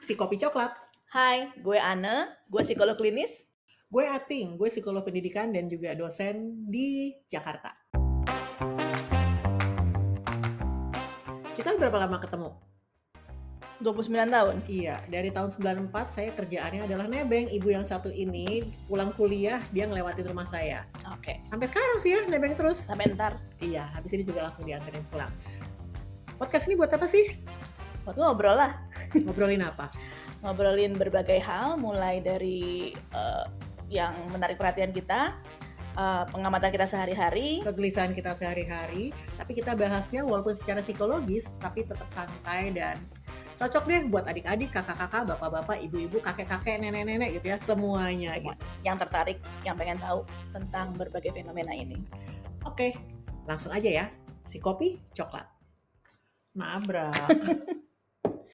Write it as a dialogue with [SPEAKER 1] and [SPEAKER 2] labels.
[SPEAKER 1] si kopi coklat.
[SPEAKER 2] Hai, gue Ana, gue psikolog klinis.
[SPEAKER 1] Gue Ating, gue psikolog pendidikan dan juga dosen di Jakarta. Kita berapa lama ketemu?
[SPEAKER 2] 29 tahun.
[SPEAKER 1] Iya, dari tahun 94 saya kerjaannya adalah nebeng. Ibu yang satu ini pulang kuliah dia ngelewatin rumah saya.
[SPEAKER 2] Oke.
[SPEAKER 1] Sampai sekarang sih ya, nebeng terus.
[SPEAKER 2] Sampai ntar
[SPEAKER 1] Iya, habis ini juga langsung dianterin pulang. Podcast ini buat apa sih?
[SPEAKER 2] buat ngobrol lah.
[SPEAKER 1] Ngobrolin apa?
[SPEAKER 2] Ngobrolin berbagai hal mulai dari eh, yang menarik perhatian kita, eh, pengamatan kita sehari-hari.
[SPEAKER 1] Kegelisahan kita sehari-hari, tapi kita bahasnya walaupun secara psikologis, tapi tetap santai dan cocok deh buat adik-adik, kakak-kakak, bapak-bapak, ibu-ibu, kakek-kakek, nenek-nenek gitu ya, semuanya gitu.
[SPEAKER 2] yang tertarik, yang pengen tahu tentang berbagai fenomena ini.
[SPEAKER 1] Oke, langsung aja ya. Si kopi coklat. Nabrak.